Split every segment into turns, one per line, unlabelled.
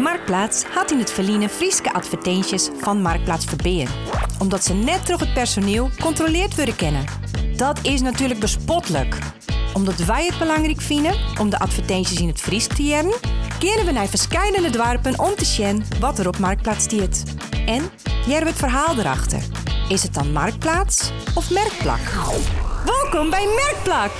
Marktplaats had in het verliezen Frieske advertenties van Marktplaats Verbeer. Omdat ze net terug het personeel controleerd willen kennen. Dat is natuurlijk bespottelijk. Omdat wij het belangrijk vinden om de advertenties in het Fries te jaren, keren we naar verschillende dorpen om te zien wat er op Marktplaats stiert. En jaren we het verhaal erachter. Is het dan Marktplaats of Merkplak? Welkom bij Merkplak!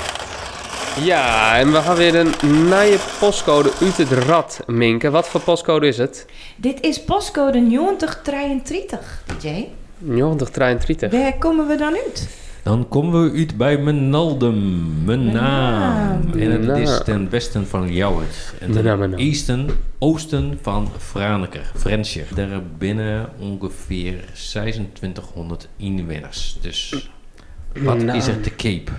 Ja, en we gaan weer een nieuwe postcode uit het rad, Minke. Wat voor postcode is het?
Dit is postcode 9033, Jay.
9033.
Waar komen we dan uit?
Dan komen we uit bij mijn Naldum, mijn naam.
naam.
En het
Mijn
is
naam.
ten westen van Jouwert. En
Mijn naam, mijn
ten
naam.
eesten, oosten van Franeker, Frensje. Daar binnen ongeveer 2600 inwoners. Dus wat
naam.
is er te cape?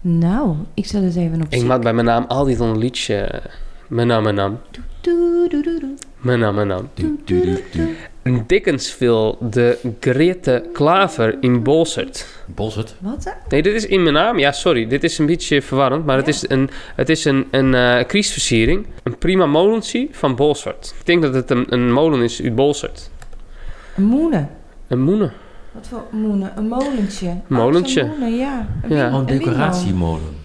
Nou, ik zal eens even op
Ik maak bij mijn naam altijd een liedje. Mijn naam, mijn naam. Mijn naam, mijn naam.
Du- du- du- du.
Dickens viel de Grete Klaver in Bolsert.
Bossert.
Wat? hè?
Nee, dit is in mijn naam. Ja, sorry. Dit is een beetje verwarrend. Maar het
Ja.
is een, het is een, een eh, kriesversiering. Een prima molensie van Bolsert. Ik denk dat het een, een molen is uit Bolsert.
Een moene.
Een moene.
Wat voor moene? Een molentje. Oh,
Molentje.
zo'n moene, ja. Een
Ja.
win-
nou?
Oh, een
windmolen.
decoratiemolen.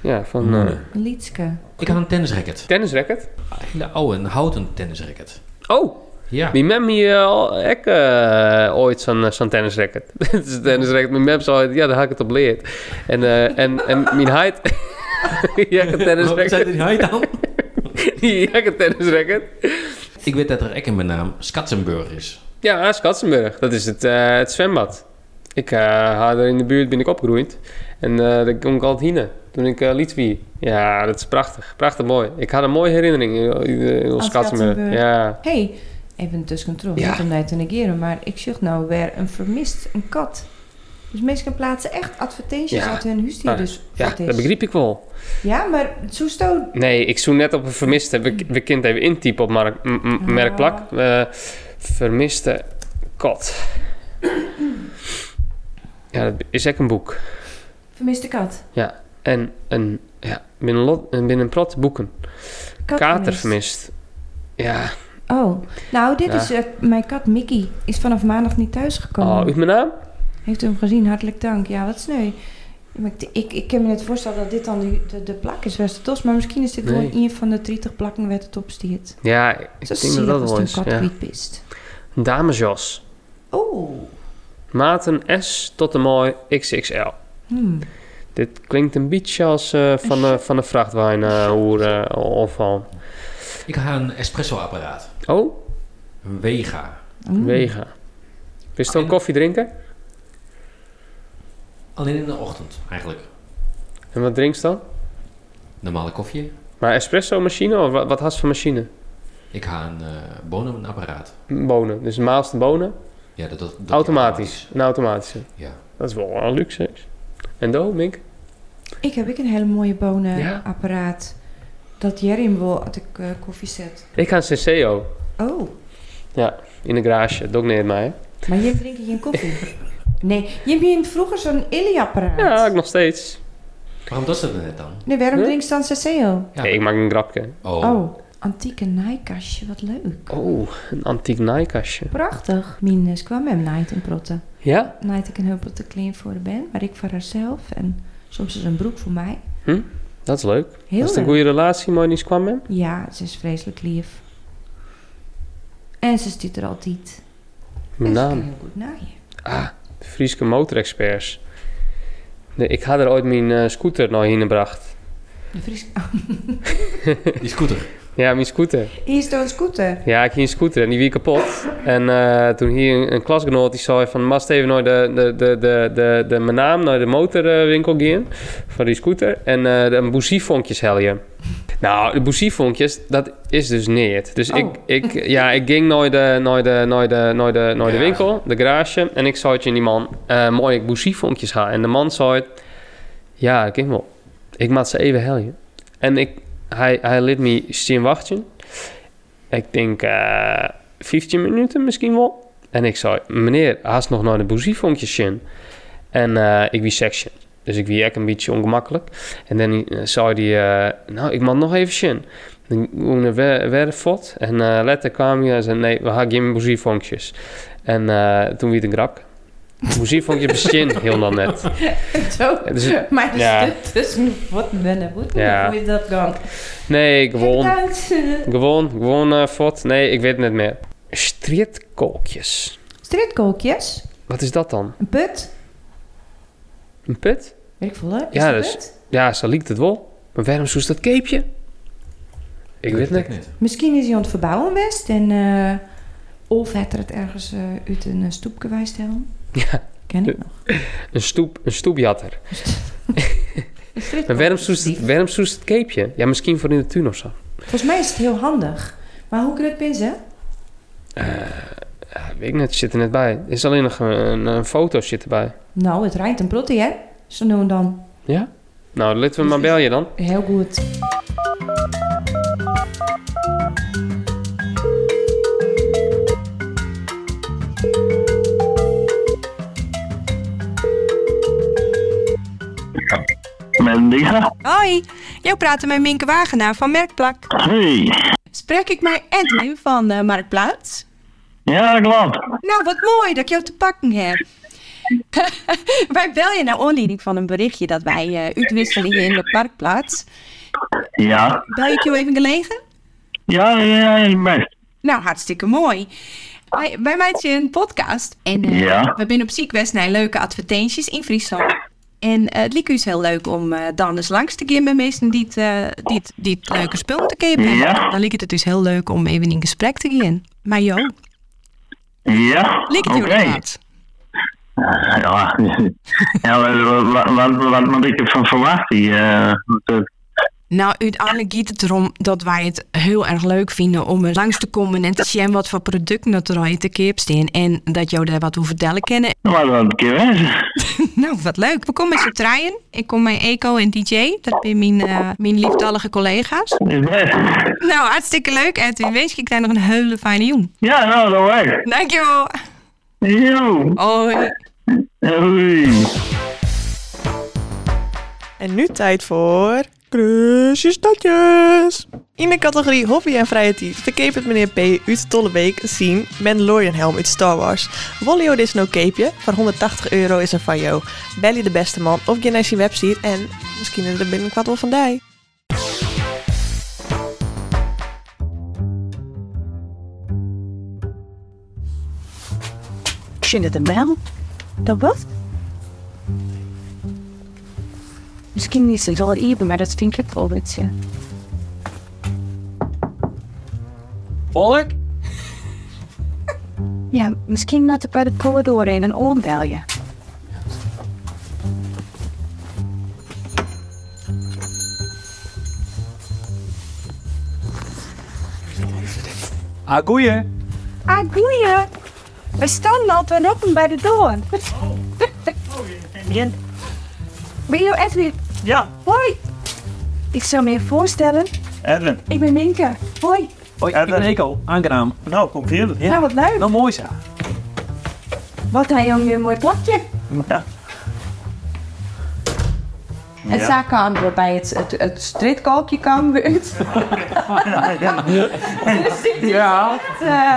Ja, van... eh
Moene.
Een liedske.
Ik had een tennisracket.
tennisracket.
Een hele oude, een houten tennisracket.
Oh,
Ja.
Mijn mem hier al ik, eh, ooit zo'n eh, zo'n tennisracket. Het is een tennisracket. Mijn mem zei ooit, ja, daar had ik het op leerd. En, eh, en, en mijn heid... ja, ik een
Wat zei
tennisracket.
die hij dan?
ja, ik een tennisracket.
Ik weet dat er ek in mijn naam Skatzenburg is.
Ja, ah, Schatsenburg. Dat is het, eh, het zwembad. Ik eh, had er in de buurt, ben ik opgegroeid. En eh daar kom ik altijd heen. Toen ik eh liet wie. Ja, dat is prachtig. Prachtig mooi. Ik had een mooie herinnering in, in, in
Aan
Schatsenburg.
Schatsenburg.
Ja.
hey, even tussencontrole,
Ja.
niet om dat te negeren, maar ik zucht nou weer een vermist, een kat. Dus mensen plaatsen echt advertenties
Ja.
uit hun huis die
Ah,
dus
ja,
vat is.
dat begreep ik wel.
Ja, maar zo stoot.
Nee, ik zoek net op een vermiste. We, we kind even intypen op mark, m- m- merkplak. Eh, vermiste kat. ja, dat is echt een boek.
Vermiste kat.
En een, ja, binnen, lot, en binnen prot boeken.
kat
Kater
vermist.
vermist. Ja,
Oh, nou, dit
Ja.
is eh, mijn kat Mickey. Is vanaf maandag niet thuisgekomen.
oh, uit mijn naam?
Heeft u hem gezien? Hartelijk dank. Ja, wat sneu. Ja, maar ik, ik, ik kan me net voorstellen dat dit dan de, de, de plak is, was het tos. Maar misschien is dit
Nee.
gewoon een van de 30 plakken werd het opstiert.
Ja, ik
Zo
denk dat
zielig
dat
als
wel
een
is.
kat
Ja.
kwiet pist.
Damesjas.
Oh.
Maten S tot de mooi XXL.
Hmm.
Dit klinkt een beetje als eh, van, eh, van een vrachtwijn eh hoe, eh, of van.
Ik ga een espresso-apparaat.
Oh,
Een Vega.
Hmm.
Wega. Wist je ook
En-
koffie drinken?
Alleen in de ochtend, eigenlijk.
En wat drinkt dan?
Normale koffie.
Maar espresso machine of wat, wat had ze voor machine?
Ik ga een eh, bonenapparaat.
Bonen. Dus maalste bonen.
Ja, dat, dat, dat-
automatisch. Een automatische.
Ja.
Dat is wel een luxe. hè? En do, Mink?
Ik heb ik een hele mooie
Ja.
bonenapparaat. Dat Jerim wil als ik eh, koffie zet.
Ik ga een Senseo.
Oh,
In de garage. Dat ook niet mij. hè?
maar hier drink je geen koffie. nee, je hebt hier vroeger zo'n Illy-apparaat.
Ja, ik nog steeds.
Waarom dat ze dat net dan?
Nee, waarom
Huh?
drink je dan Seseo?
Ja.
Nee, ik maak een grapje.
Oh.
Oh, antieke naaikastje, wat leuk.
Oh, een antiek naaikastje.
Prachtig. Minus kwam hem naait en protten.
Ja?
Naait ik een heel protte klein voor de ben, maar ik voor haarzelf. En soms is een broek voor mij.
Dat is leuk.
Heel
dat is een
leuk.
goede relatie, mooi niet kwam hem.
Ja, ze is vreselijk lief. En ze stuurt er altijd.
Mijn
en ze
naam.
kan heel goed naaien.
Ah, de Frieske motorexperts. Nee, ik had er ooit mijn eh, scooter naar heen gebracht.
De Fries... Oh,
Die scooter.
Ja, mijn scooter.
Hier is een scooter.
Ja, ik ging scooter en die wiek kapot. En eh, toen hier een, een klasgenoot die zei van... Mast even naar de, de, de, de, de, de, mijn naam, naar de motorwinkel gaan. Van die scooter. En eh, de- een boeziefonkjes hel je. Nou, de boeziefonkjes, dat is dus niet. Dus
Oh.
ik, ik, ja, ik ging naar de, naar de, naar de, naar de, eh, naar de
Garage.
winkel, de garage. En ik zei tegen die man, eh mooi, ik boeziefonkjes ha. En de man zei, ja, ik wel. Ik maak ze even helje. En ik, hij, hij liet me zien wachten. Ik denk eh 15 minuten misschien wel. En ik zei, meneer, haast nog naar de boeziefonkjes zien. En eh, ik wie section. Dus ik wie echt een beetje ongemakkelijk. En dan eh, zei hij, eh, nou, ik mag nog even zien. Dan ging ik weer, weer fort. En eh later kwam je en zei, nee, we gaan geen muziekvonkjes. En eh, toen werd het een grap. Muziekvonkje bestond heel nog net.
Zo.
Dus het-
Maar
Ja.
dus, dus wat ben ik goed?
Ja.
Hoe is dat dan?
nee, gewoon.
Uit.
Gewoon, gewoon eh, fort. Nee, ik weet het niet meer. Streetkolkjes.
Streetkookjes,
Wat is dat dan?
een put.
Een put?
Weet ik veel, hè? Is
Ja,
het
dus-
put?
Ja, zo liekt het wel. Maar waarom zoest dat keepje? Ik weet het niet.
Misschien is hij aan het verbouwen geweest en... eh, of het er het ergens eh, uit een eh, stoep gewijst hebben.
Ja,
Ken ik nog.
een, stoep, een stoepjatter.
Een
Maar
streetkookje.
waarom zoest het, waarom zoest het keepje? Ja, misschien voor in de tuin of zo.
Volgens mij is het heel handig. Maar hoe kun je het pinzen?
Eh, Ja, weet ik net, zit er net bij. Er is alleen nog een, een, een foto zit erbij.
Nou, het rijdt een protte, hè? Ze noemen dan
Ja? Nou, laten we maar bel je dan.
heel goed.
Mendiga.
Hoi, jou praten met Minke Wagenaar van Merkplak.
Hey.
Spreek ik mij Edwin van eh, Marktplaats?
Ja, klopt.
Nou, wat mooi dat ik jou te pakken heb. wij bel je naar aanleiding van een berichtje dat wij eh, uitwisselen hier in de Marktplaats.
Ja.
Bel ik jou even gelegen?
Ja, ja, ja, best.
Nou, hartstikke mooi. Wij, wij maken een podcast. En eh,
Ja.
we zijn op ziek best naar leuke advertenties in Friesland. En eh, het liep is heel leuk om eh, dan eens langs te gaan bij mensen die het, eh, die het, die het leuke spul te kopen.
Ja.
Dan liep het dus heel leuk om even in gesprek te gaan. Maar Jo,
Ja.
liep het
Oké.
jou dat wat?
Ja, ja wat, wat, wat, wat moet ik ervan verwachten? Eh, dat-
Nou, uiteindelijk gaat het erom dat wij het heel erg leuk vinden om er langs te komen en te zien wat voor producten dat er al te keer staan. En dat jou daar wat over vertellen kennen.
wat wat een keer wezen.
Nou, wat leuk. We komen met z'n draaien. Ik kom met Eco en DJ. Dat zijn mijn, eh, mijn liefdallige collega's.
Is best.
Nou, hartstikke leuk. Edwin, wens ik daar nog een hele fijne jong.
Ja, nou, dat werkt.
Dankjewel.
Yo.
Hoi.
Oei.
En nu tijd voor... Kruisjes datjes. In de categorie hobby en vrije tijd verkeep het meneer P. uit Tollebeek zien Mandalorian-helm uit Star Wars. Wollio is no capeje, van 180 euro is er van jou. Bel je de beste man of je naar zijn website en misschien is er binnenkort wel van dij.
Zit het een bel? Dat wat? Misschien niet zo heel even, maar dat vind ik wel een beetje.
Volk?
Ja, misschien dat ik bij de corridor in een oom bel je.
Ah, goeie.
Ah, goeie. We staan altijd open bij de door.
Jen.
Ben je Edwin?
Ja,
Hoi. Ik zou me even voorstellen.
Edwin.
Ik ben Minke. Hoi.
Hoi, ik ben Eco. Aangenaam.
Nou, kom verder.
Nou, wat leuk.
Nou, mooi zo.
Wat een jongen, mooi plakje.
Ja.
En daar kwamen we bij het, het, het streetkalkje kwamen we uit.
Ja.
Eh,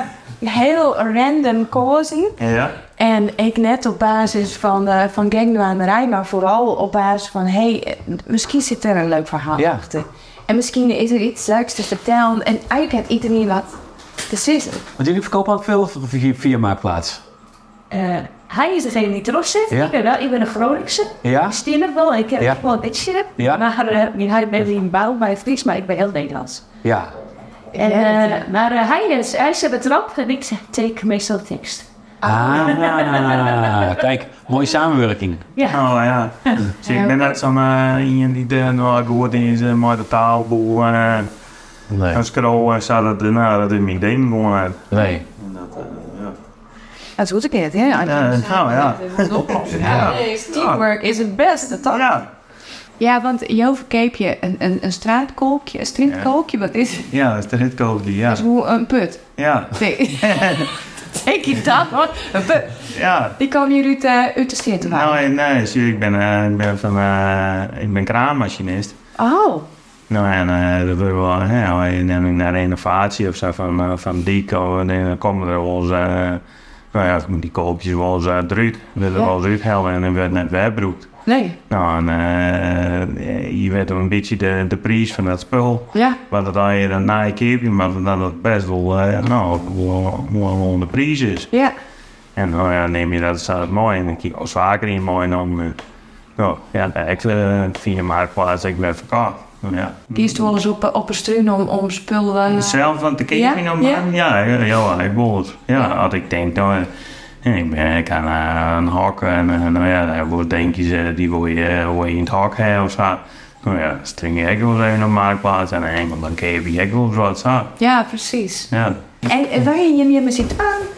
heel random causing.
Ja.
En ik net op basis van, eh van gangdoanerij, maar vooral op basis van... hé, hey, eh, misschien zit er een leuk verhaal
Ja.
achter. En misschien is er iets leuks te vertellen. En eigenlijk heeft iedereen wat te zeggen.
Want jullie verkopen ook veel via, via Marktplaats.
Eh, hij is degene die trots zit.
Ja.
Ik, ben wel, ik ben de vrolijkste.
Ja?
Ik stier nog wel. Ik heb
Ja.
nog wel een beetje...
Ja.
Maar eh, hij ben in bouw bij Fries, maar ik ben heel Nederlands.
Ja.
En, eh, maar eh, hij is hij is er betrapt en ik zeg, teken meestal tekst. Ah.
nou, Ah, kijk. Mooie samenwerking.
Oh ja. Dus ik ben net zo'n eh, iemand die de, nou goed is, eh, maar de taalboel en eh,
Nee.
een scroll en zo. Dat, nou, dat is mijn ding gewoon uit.
Nee.
Dat is goed, ik het, hè?
Ja, nou ja.
Teamwork is het beste, toch?
Ja.
Ja, want jou verkeep je een, een, een straatkolkje, een straatkolkje, wat is het?
Ja, dat is de hitkoop die, ja.
Dat is hoe een put.
Ja.
Nee. Ik je dat, hoor. Een put.
Ja.
Die kwam hier uit, eh, uit de straat
Nou, eh, nee, zie je, ik ben, eh, ik ben van, eh, ik ben kraanmachinist.
Oh,
Nou, en eh, dat is wel, hè, als je namelijk naar renovatie of zo van, eh, van deco, en dan komen er wel eens, eh, nou ja, die koopjes wel eens eh, eruit, willen
Ja.
wel eens uithelden en dan wordt het net wegbroekt.
Nee,
Nou, en eh, je weet een beetje de, de prijs van dat spul,
ja.
want dat je dan na je keer, maar dat het best wel, eh, nou, wel- wel wel de prijs is.
Ja,
En nou ja, neem je dat, staat het mooi en dan kijk je als vaker in mooi en dan, eh, nou ja, ik eh, via Marktplaats, ik ben verkocht. Nou Ja.
kiest wel eens op, eh, op een struin om, om spullen... eh,
Zelf nou aan te kijken
Ja,
om
ja.
ja, ja, ja, ik wil het. Ja, als ik denk, nou, eh, ik, ben, ik aan eh, een hok en eh, nou ja, daar wordt denk je, eh, die wil je, eh, wil je in het hok hebben of zo. Nou ja, dan string je ik wel eens even op marktplaats en enkel dan keep je ik wel eens wat zo.
Ja, precies.
Ja.
En eh, waar je je me zit aan?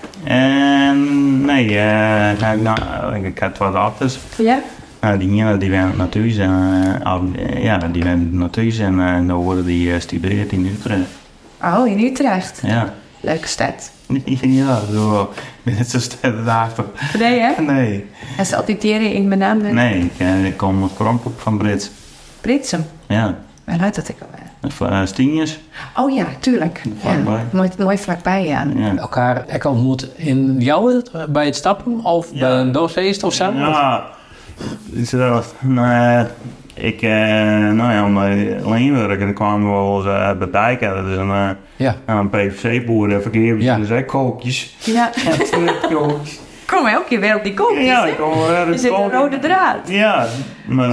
En nee, eh nou, ik, nou, ik- ik had wat ouders.
Ja?
Nou, die jongen die went naar thuis en, eh, al- eh, ja, die went naar thuis en eh, dan worden die gestudeerd in Utrecht.
Oh, in Utrecht.
Ja.
Leuke stad.
Ja, zo. Net zo sterk daarvoor.
Nee, hè?
Nee.
En ze auditeren in mijn naam nee.
Nee, ik, eh, ik kom oorspronkelijk van Brits.
Britsum.
Ja,
Waar luidt dat ik al bij?
van eh, Stienjes.
Oh ja, tuurlijk. Ja.
Vlakbij.
Mooi, mooi vlakbij, ja.
Ja.
Elkaar ik ontmoet in jouw bij het stappen of
Ja.
bij een doosfeest of zo?
Ja, is dat. Nou, ik, eh, nou ja, omdat alleen werken, dan kwamen we wel eens eh, bij Dijken. Dat is een, eh,
Ja.
een PVC-boer, en verkeer,
Ja.
dus ik kookjes.
ja.
Ja, tuurlijk, kookjes.
Kom elke keer weer op die kopjes,
Ja,
hè?
ik kom wel
Er
ergens
zit een
koken.
rode draad.
Ja, maar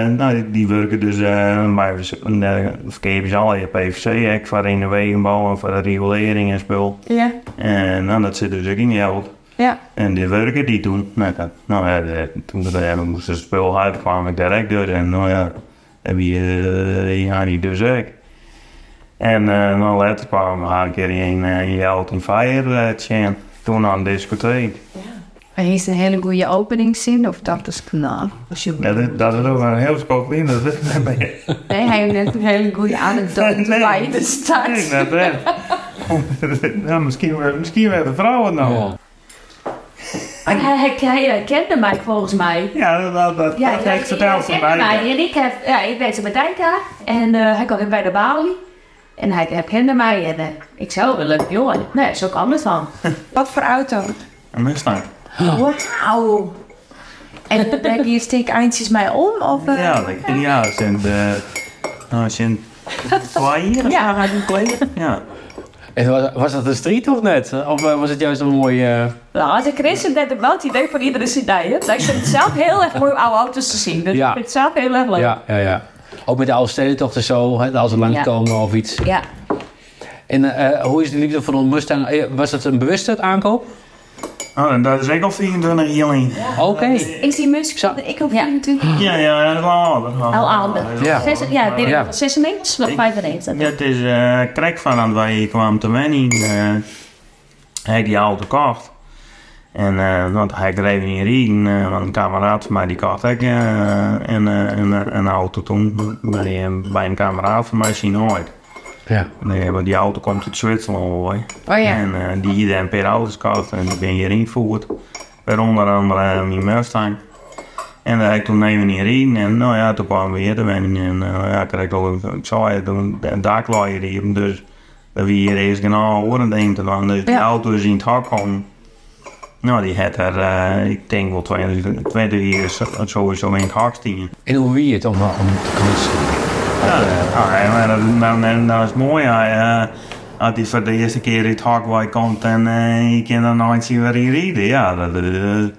eh, nou, die, die werken dus eh bij uh, verkeer, al je PVC-hek voor renovering en voor de regulering en spul.
Ja.
En nou, dat zit dus ook in jou.
Ja.
En die werken die toen. Nou, dat, nou ja, de- toen dat hebben moest het spul uit, kwam ik direct door. En nou ja, heb je eh, ja, die dus ook. En eh, nou later kwam we haar een keer in uh, Jeld en Fire Chan. Toen aan de discotheek.
Hij is een hele goede openingszin, of dat is knap.
Ja, dat, dat is ook een heel spoof in. Dat is daar ben je.
Nee, hij heeft net een hele goede anekdote
Nee.
bij de stad.
Nee, dat is. nou, misschien, wel- misschien werden vrouwen nou.
Ja.
Hij, hij, hij herkende mij volgens mij.
Ja, dat, dat, dat dat heb ik verteld
hij
van
herkende
beide.
mij. En ik, heb, ja, ik werkte bij Dijka en eh, hij kwam in bij de balie. En hij herkende mij en eh, ik zou
"Oh,
wel leuk jongen. Nee, zo kwam het van.
Wat voor auto?
Een Mustang.
Oh.
Wauw. En breng je steek eindjes mij om? Of, eh?
Ja, dat- ja, sinds, eh nou, sinds twee jaar.
Ja,
maar een collega. Ja.
En was, was dat een street of net? Of eh, was het juist een mooie... eh,
Nou, als ik Chris en net de band, die deed van iedere CD. hè. Ik vind het zelf heel erg mooi om oude auto's te zien. Dus
Ja.
Ik vind het zelf heel erg leuk.
Ja, ja, ja. Ook met de oude stedentochten zo, hè, als ze langskomen of iets.
Ja.
En eh, hoe is de liefde voor een Mustang? Eh, Was dat een bewuste aankoop?
Oh, en dat is ik al 24 jaar in.
Oké.
Is die muziek?
Zo.
Ik op 24.
Ja, Nou. ja, dat is wel ouder.
Al ouder.
Ja.
Zes, ja, dit
Ja.
ja. 96 of 95.
Ja, het is eh krek van aan waar je kwam te wennen. eh hij die auto kocht. En eh, want hij kreeg niet rijden, eh, want een kameraad van mij die kocht ook eh, een, eh, een, een auto toen. Bij, een- eh, bij een kameraad van mij zien nooit.
Ja.
Nee, want die auto komt uit Zwitserland hoor.
Oh ja.
En eh, die hier een paar auto's kocht en die ben hier ingevoerd. Waaronder andere eh, mijn Mustang. En daar heb ik toen even in rijden. En nou ja, toen kwamen we hier te wennen. En eh, ja, ik kreeg ook, ik zei het, toen een daklaaier hier. Dus dat we hier eerst geen horen denk te dan. Dus die
Ja.
auto is in het hak komen. Nou, die had er, eh, ik denk wel 20, 20 jaar eh, zo- sowieso in het hak staan.
En hoe wie het om, om te knutsen?
Ja, ja, maar dat, nou, nou, nou is mooi. Hij, eh, als hij voor de eerste keer in het Hogwai komt en eh, je kan dan nooit zien waar hij rijdt. Ja, dat, dat- dat-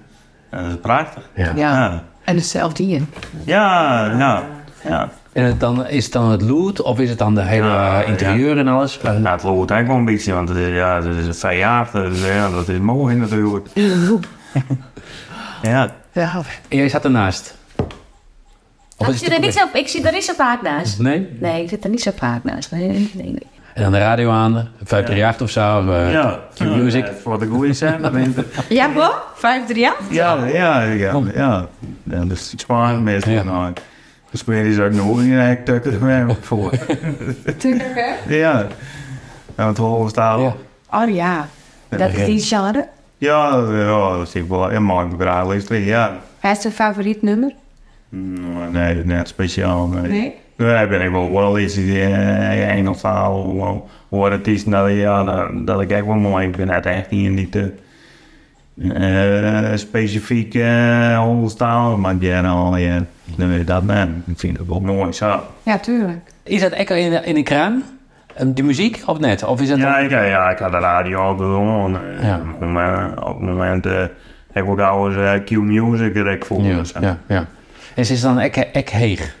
dat is prachtig.
Ja.
Ja,
En hetzelfde hier.
ja, ja. ja.
En het dan, is het dan het loot of is het dan de hele eh, interieur en alles? Eh,
Nou, het loopt eigenlijk wel een beetje, want het is, ja, het is een verjaard. Dus, ja, dat is mooi natuurlijk. ja,
Ja,
en jij zat ernaast? Of
ik,
is
zit
het
er
een-
niet zo, ik zit er niet zo vaak naast.
Nee?
Nee, ik zit er niet zo vaak naast. Nee, nee, nee, nee.
En dan de radio aan, 538 of zo. of, eh,
ja.
Cue music.
Ja, Voor de goede scène. dat vind ik-
Ja, hoor. 538?
Ja, ja, ja. ja. ja dus iets maar met
Ja.
nou, de spelers ook nog in een tukker mee voor.
Tuurlijk, hè?
ja. En het horen staan.
Ja.
Ja,
Oh ja. Dat is die genre.
ja, ja, dat is ik wel. Ja, maak ik graag luisteren, ja.
Hij is zijn favoriet nummer?
Nee, Mm, net speciaal. Nee.
Nee?
Ja, ik ben ik wel, wel eens eh, Engelstaal, wel- hoor het is dat, ja, dat, dat ik echt wel mooi ik ben. Het echt niet, niet te eh, specifiek eh Hollandstaal, maar general, ja, nee, dat nee, ik vind het wel mooi zo.
Ja, tuurlijk.
Is dat echt in, in de kraan? Eh, Die muziek of net? Of is dat
Ja, ik, ja, ik had de radio altijd on. eh, Op, het moment- op het moment eh, heb ik ook ouders eh, Q-Music direct voor
Ja, ja, ja. En ze is dan ek, ek heeg?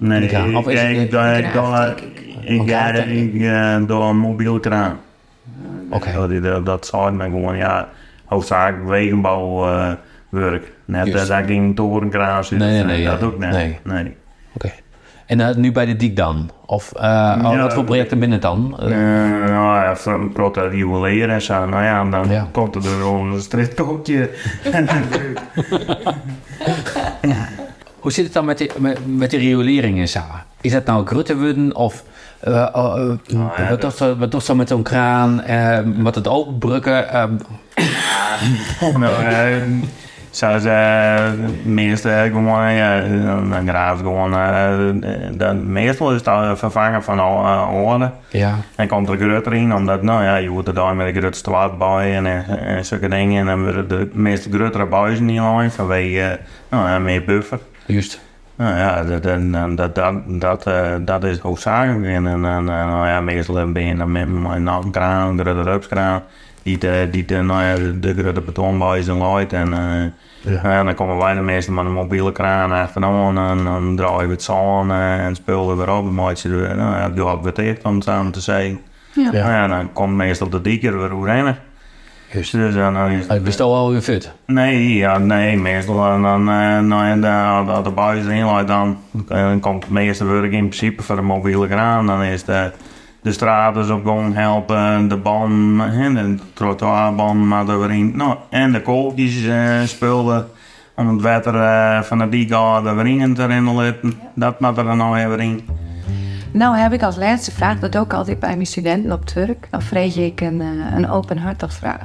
Nee,
Die
ik,
kraan.
ik,
Of is het-
ik,
Graaf,
ik, ik,
Graaf,
ik, ik, eh, door een mobiel kraan. Oké. Dat, dat, dat zou ik me gewoon, ja, hoofdzakelijk wegenbouwwerk. Net
Juist.
dat ik in een torenkraan zit.
Nee, nee, nee,
Dat
ja.
ook niet.
Nee.
nee.
En eh, nu bij de Diek dan? Of eh, oh,
Ja,
wat voor projecten binnen dan?
Eh, nou ja, van proto juwelier en zo. Nou ja, dan komt er gewoon een stritkoekje.
Hoe zit het dan met de, met, met de riolering in Saar? Is dat nou gruttewudden of eh, eh, eh, wat, toch zo, wat toch zo met zo'n kraan, eh, wat het openbrukken? eh,
nou, eh, zoals eh, meestal gewoon, ja, dan graaf gewoon, eh, dan, meestal is het al vervangen van al eh, orde.
ja.
En komt er groter in, omdat nou ja, je moet er daar met een grote straat bij en, en, en zulke dingen. En dan worden de meest grotere buizen niet lang vanwege eh, nou, ja, meer buffer.
Juist.
Nou ja, dat, en- en dat, dat, dat, eh, dat is hoofdzakelijk. En, en, en nou ja, meestal ben je dan met mijn naamkraan, een grote rupskraan. Die, te- die te, nou ja, de- de grote betonbuizen leidt. En, eh, en dan komen wij de meesten met een mobiele kraan achteraan. En dan draaien we het zon eh, en spullen weer op. En maatje, nou ja, doe wat betekent om het samen te zeggen.
Ja.
Nou ja, dan komt meestal de dieker weer rennen. Dus dan, dan is
het best al weer fut?
Nee, ja, nee, meestal dan, dan, eh, nou ja, dan, als de buis erin leidt, dan, eh, dan komt het meeste werk in principe voor de mobiele kraan. Dan is de, de straat dus op gang helpen, de ban en de trottoirban, maar er weer in. Nou, en de kooltjes eh spullen om het water eh, van de diegade weer in te rinnelen. Dat moet er dan nou even in.
Nou heb ik als laatste vraag, dat doe ik altijd bij mijn studenten op het werk. Dan vrees ik een, eh, een openhartig vraag.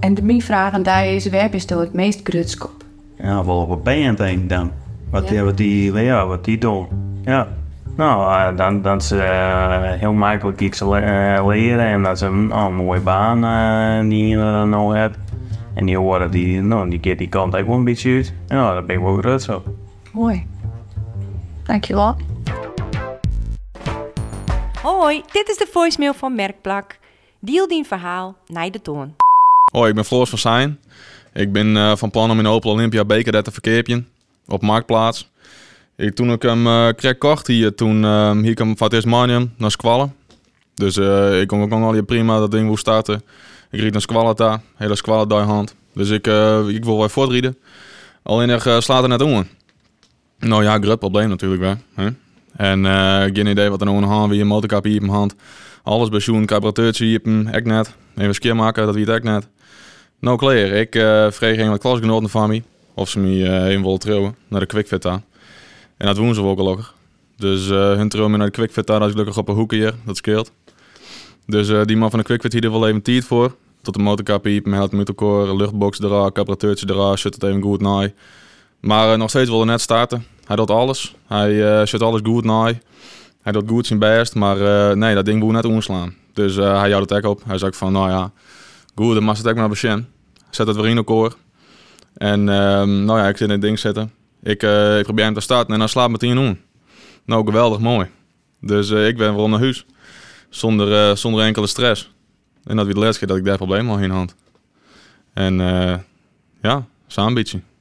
En de mijn vraag aan daar is, waar bist u het meest grutsk op?
Ja, wel op een band denk ik dan. Wat,
Ja.
die, wat, die, ja, wat die doen. Ja. Nou, eh, dan, dat ze eh, heel makkelijk iets le- eh, leren en dat ze een, oh, een mooie baan eh, die je dan nou hebt. En die horen die, nou, die keer die kant ook wel een beetje uit. Ja, dat ben ik wel trots op.
Mooi. Dankjewel.
Hoi, dit is de voicemail van Merkplak. Deal dien verhaal naar de toon.
Hoi, ik ben Floors van Zijn. Ik ben eh, van plan om in de Opel Olympia bekerred te verkeerpen op Marktplaats. Ik, toen ik hem eh kreeg kocht hier, toen eh, hier kwam van het eerst Manium naar Squallen. Dus eh, ik kon ook nog al hier prima dat ding woest starten. Ik riet naar Squallen daar, hele Squallen die hand. Dus ik, eh, ik wil wel voortrieden. Alleen er eh, slaat er net om. Nou ja, groot probleem natuurlijk wel. Hè? En eh, geen idee wat er nou aan de hand wie een motorkap hier op mijn hand. Alles bij Sjoen, carburateurtje hier op hem, ik net. Even skeer maken, dat wie het ik net. Nou clear, ik eh vreeg een wat klasgenoten van me. Of ze me eh even wilden trouwen, naar de quickfit aan. En dat doen ze ook al lekker. Dus eh, hun trouwen me naar de quickfit aan, dat is gelukkig op een hoekje hier, dat scheelt. Dus eh, die man van de quickfit hier er wel even tiert voor. Tot de motorkap hiep, met het motorcore, luchtbox eraan, carburateurtje eraan, shut het even goed naai. Maar eh, nog steeds wilde net starten. Hij doet alles. Hij eh shut alles goed naai. Hij doet goed zijn best, maar eh, nee, dat ding moet net omslaan. Dus eh, hij houdt het ook op. Hij zegt van, nou ja, goed, dan mag het ook maar beginnen. Zet het weer in elkaar. En ehm, nou ja, ik zit in het ding zitten. Ik, eh, ik probeer hem te starten en dan slaat meteen om. Nou, geweldig mooi. Dus eh, ik ben weer om naar huis. Zonder, eh, zonder enkele stress. En dat weer de laatste keer dat ik daar probleem al in had. En eh, ja, zo'n beetje.